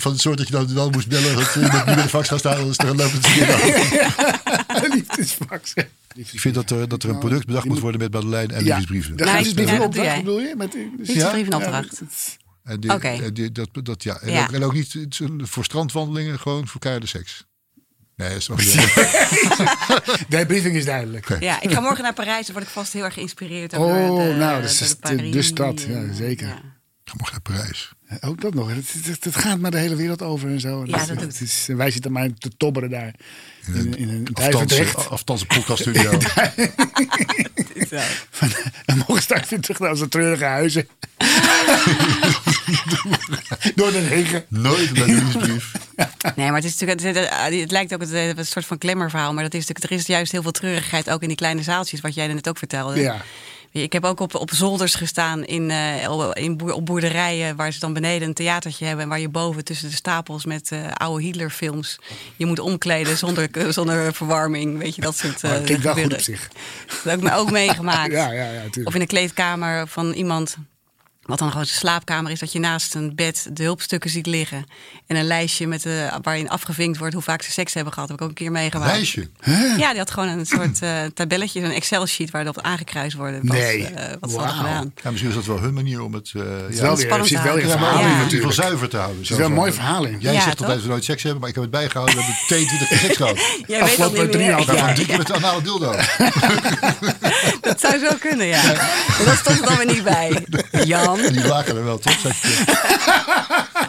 Speaker 2: Van het soort dat je dan wel moest bellen dat iemand nu bij de fax gaat staan, anders dan loopt het verkeerd af.
Speaker 3: Liefdesfax.
Speaker 2: Ik vind dat er, dat er een product bedacht moet worden met Madeleine en liefdesbrieven.
Speaker 3: De
Speaker 1: Nee,
Speaker 3: liefdesbrieven
Speaker 1: ja, dat doe
Speaker 3: opdracht
Speaker 1: jij.
Speaker 3: bedoel je? Met, dus,
Speaker 1: Liefdesbrief en opdracht.
Speaker 2: En die-
Speaker 1: Oké.
Speaker 2: en die- dat, dat, ja. En,
Speaker 1: Ja.
Speaker 2: Ook, en ook niet het is voor strandwandelingen, gewoon voor keiharde seks. Nee, dat is nog niet.
Speaker 3: De briefing is duidelijk.
Speaker 1: Ja, ik ga morgen naar Parijs, dan word ik vast heel erg geïnspireerd. ook
Speaker 3: Oh,
Speaker 1: door de-
Speaker 3: nou,
Speaker 1: door
Speaker 3: dat is
Speaker 1: de
Speaker 3: de-
Speaker 1: Paris
Speaker 3: de stad,
Speaker 1: en-
Speaker 3: ja, zeker.
Speaker 2: Dan mocht naar Parijs.
Speaker 3: Eh, Ook dat nog. Het, het, het gaat maar de hele wereld over en zo.
Speaker 1: Ja, dat
Speaker 3: het
Speaker 1: doet.
Speaker 3: is, wij zitten maar te tobberen daar. In, in, in een
Speaker 2: Aftans,
Speaker 3: duivendrecht.
Speaker 2: aftans een podcaststudio.
Speaker 1: Ja.
Speaker 3: En mogen straks weer terug naar onze treurige huizen. Door de regen.
Speaker 2: Nooit met een nieuwsbrief.
Speaker 1: Nee, maar het, is natuurlijk, het, het- het lijkt ook het- het een soort van klemmerverhaal. Maar dat is natuurlijk, er is juist heel veel treurigheid ook in die kleine zaaltjes, wat jij net ook vertelde.
Speaker 3: Ja.
Speaker 1: Ik heb ook op, op zolders gestaan in, eh, in boer- op boerderijen waar ze dan beneden een theatertje hebben. En waar je boven tussen de stapels met eh, oude Hitlerfilms je moet omkleden zonder, eh, zonder verwarming. Weet je, dat soort eh
Speaker 3: Maar het klinkt wel goed op
Speaker 1: gebeuren.
Speaker 3: zich.
Speaker 1: Dat heb ik me ook meegemaakt.
Speaker 3: Ja, ja, ja, tuurlijk.
Speaker 1: of in de kleedkamer van iemand. Wat dan gewoon zijn slaapkamer is, dat je naast een bed de hulpstukken ziet liggen. En een lijstje met, eh, waarin afgevinkt wordt hoe vaak ze seks hebben gehad. Heb ik ook een keer meegemaakt.
Speaker 2: Wijsje.
Speaker 1: Ja, die had gewoon een soort eh, tabelletje, een Excel-sheet waarop aangekruist worden. Wat,
Speaker 3: Nee.
Speaker 1: eh, wat ze hadden
Speaker 3: Wauw.
Speaker 1: gedaan.
Speaker 2: Ja, misschien is dat wel hun manier om het... eh,
Speaker 3: Het is
Speaker 2: ja,
Speaker 3: wel
Speaker 2: het
Speaker 3: weer, er
Speaker 1: spannend
Speaker 3: zit wel weer een
Speaker 1: aan.
Speaker 2: maar
Speaker 3: verhaal
Speaker 2: om
Speaker 1: Ja.
Speaker 3: in
Speaker 2: het in ieder
Speaker 3: natuurlijk.
Speaker 2: geval zuiver te houden.
Speaker 3: Er zit wel een mooi verhaal in.
Speaker 2: Jij
Speaker 1: Ja,
Speaker 2: zegt
Speaker 1: toch?
Speaker 2: altijd dat we nooit seks hebben, maar ik heb het bijgehouden. We hebben 22 keer seks gehad.
Speaker 1: Jij weet dat
Speaker 3: Afgelopen
Speaker 1: niet
Speaker 3: drie
Speaker 1: meer.
Speaker 3: jaar.
Speaker 2: Waarvan
Speaker 1: Ja,
Speaker 2: drie keer met de anale dildo.
Speaker 1: dat zou zo kunnen, ja. Maar dat stond er dan weer niet bij. Jan.
Speaker 2: Die lagen er wel, toch? Zeg je.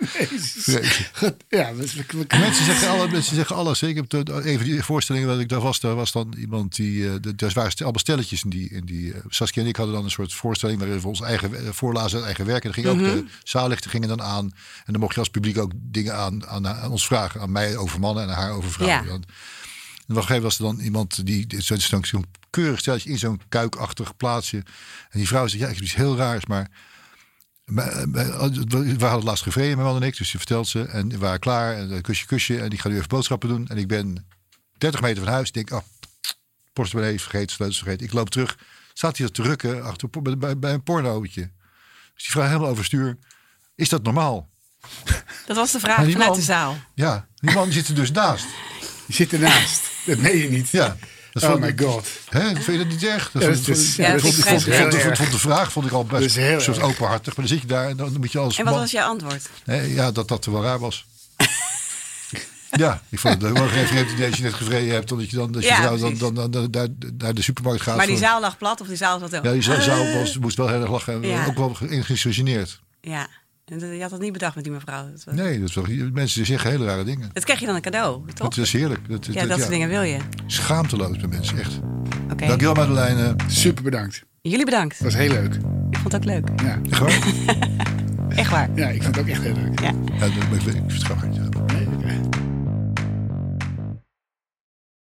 Speaker 2: Vreselijk.
Speaker 3: Ja, we- we- we-
Speaker 2: Mensen zeggen, alle, mensen zeggen alles. Ik heb toen even die voorstellingen dat ik daar was. Daar was dan iemand die. eh, de- Daar waren st- allemaal stelletjes in die. In die eh, Saskia en ik hadden dan een soort voorstelling waarin we ons eigen eh, voorlazen, het eigen werk. En dan ging
Speaker 1: Mhm.
Speaker 2: ook de zaallichten gingen dan aan. En dan mocht je als publiek ook dingen aan, aan, aan ons vragen. Aan mij over mannen en aan haar over vrouwen.
Speaker 1: Ja.
Speaker 2: Dan- en op een gegeven moment was er dan iemand die die- zo'n zo'n- zo'n keurig stelletje in zo'n kuikachtig plaatsje. En die vrouw zegt, ja, ik heb iets heel raars, maar... maar- maar- oh, We hadden het laatst gevreden, mijn man en ik. Dus je vertelt ze. En we waren klaar. En eh, kusje, kusje. En ik ga nu even boodschappen doen. En ik ben 30 meter van huis. Ik denk, ah, portemonnee vergeten, sleutels vergeten. Ik loop terug. Staat hij dat te rukken achter, bij- bij, bij een pornootje. Dus die vrouw helemaal overstuur. Is dat normaal?
Speaker 1: Dat was de
Speaker 2: Maar
Speaker 1: vraag
Speaker 2: die
Speaker 1: vanuit
Speaker 2: man-
Speaker 1: de zaal.
Speaker 2: Ja, die man zit er dus naast.
Speaker 3: je zit ernaast. Dat meen je niet.
Speaker 2: Ja. Dat
Speaker 3: oh
Speaker 2: vond-
Speaker 3: my god.
Speaker 2: Hè, vind je dat niet erg? Dat
Speaker 3: Ja,
Speaker 2: vond-
Speaker 3: dat is-
Speaker 2: vond-
Speaker 1: ja, dat
Speaker 2: vond- vond-
Speaker 1: is
Speaker 2: vond-
Speaker 1: heel
Speaker 2: vond-
Speaker 3: erg.
Speaker 2: vond de vraag vond ik al
Speaker 3: Dat is
Speaker 2: best
Speaker 3: heel
Speaker 2: een soort
Speaker 3: erg.
Speaker 2: openhartig. Maar dan zit je daar en dan moet je als
Speaker 1: En wat
Speaker 2: man-
Speaker 1: was jouw antwoord?
Speaker 2: Nee, ja, dat dat wel raar was. ja, ik vond het ook wel geen vreemd idee als je net gevreden hebt. Omdat je dan, dat je
Speaker 1: Ja,
Speaker 2: vrouw dan,
Speaker 1: precies.
Speaker 2: dan, dan, dan naar, naar de supermarkt gaat.
Speaker 1: Maar die
Speaker 2: voor-
Speaker 1: zaal lag plat of die zaal zat ook?
Speaker 2: Ja, die zaal, zaal was, moest wel heel erg lachen. en
Speaker 1: Ja.
Speaker 2: Ook wel ge- in- gegeneerd.
Speaker 1: Ja. En dat- je had dat niet bedacht met die mevrouw. Dat, was-
Speaker 2: Nee, dat is wel, mensen zeggen hele rare dingen.
Speaker 1: dat kreeg je dan een cadeau, toch?
Speaker 2: Dat is heerlijk. Dat,
Speaker 1: ja, dat soort dingen wil je. Oké.
Speaker 2: Schaamteloos bij mensen, echt. Dankjewel Madeleine.
Speaker 3: Super bedankt.
Speaker 1: Jullie bedankt.
Speaker 3: Dat was heel leuk.
Speaker 1: Ik vond het ook leuk.
Speaker 3: Ja,
Speaker 2: Echt waar?
Speaker 1: Echt waar.
Speaker 3: ja ik vond het ook echt heel leuk.
Speaker 1: Ja.
Speaker 2: Ja, dat- ik vind het grappig. ja.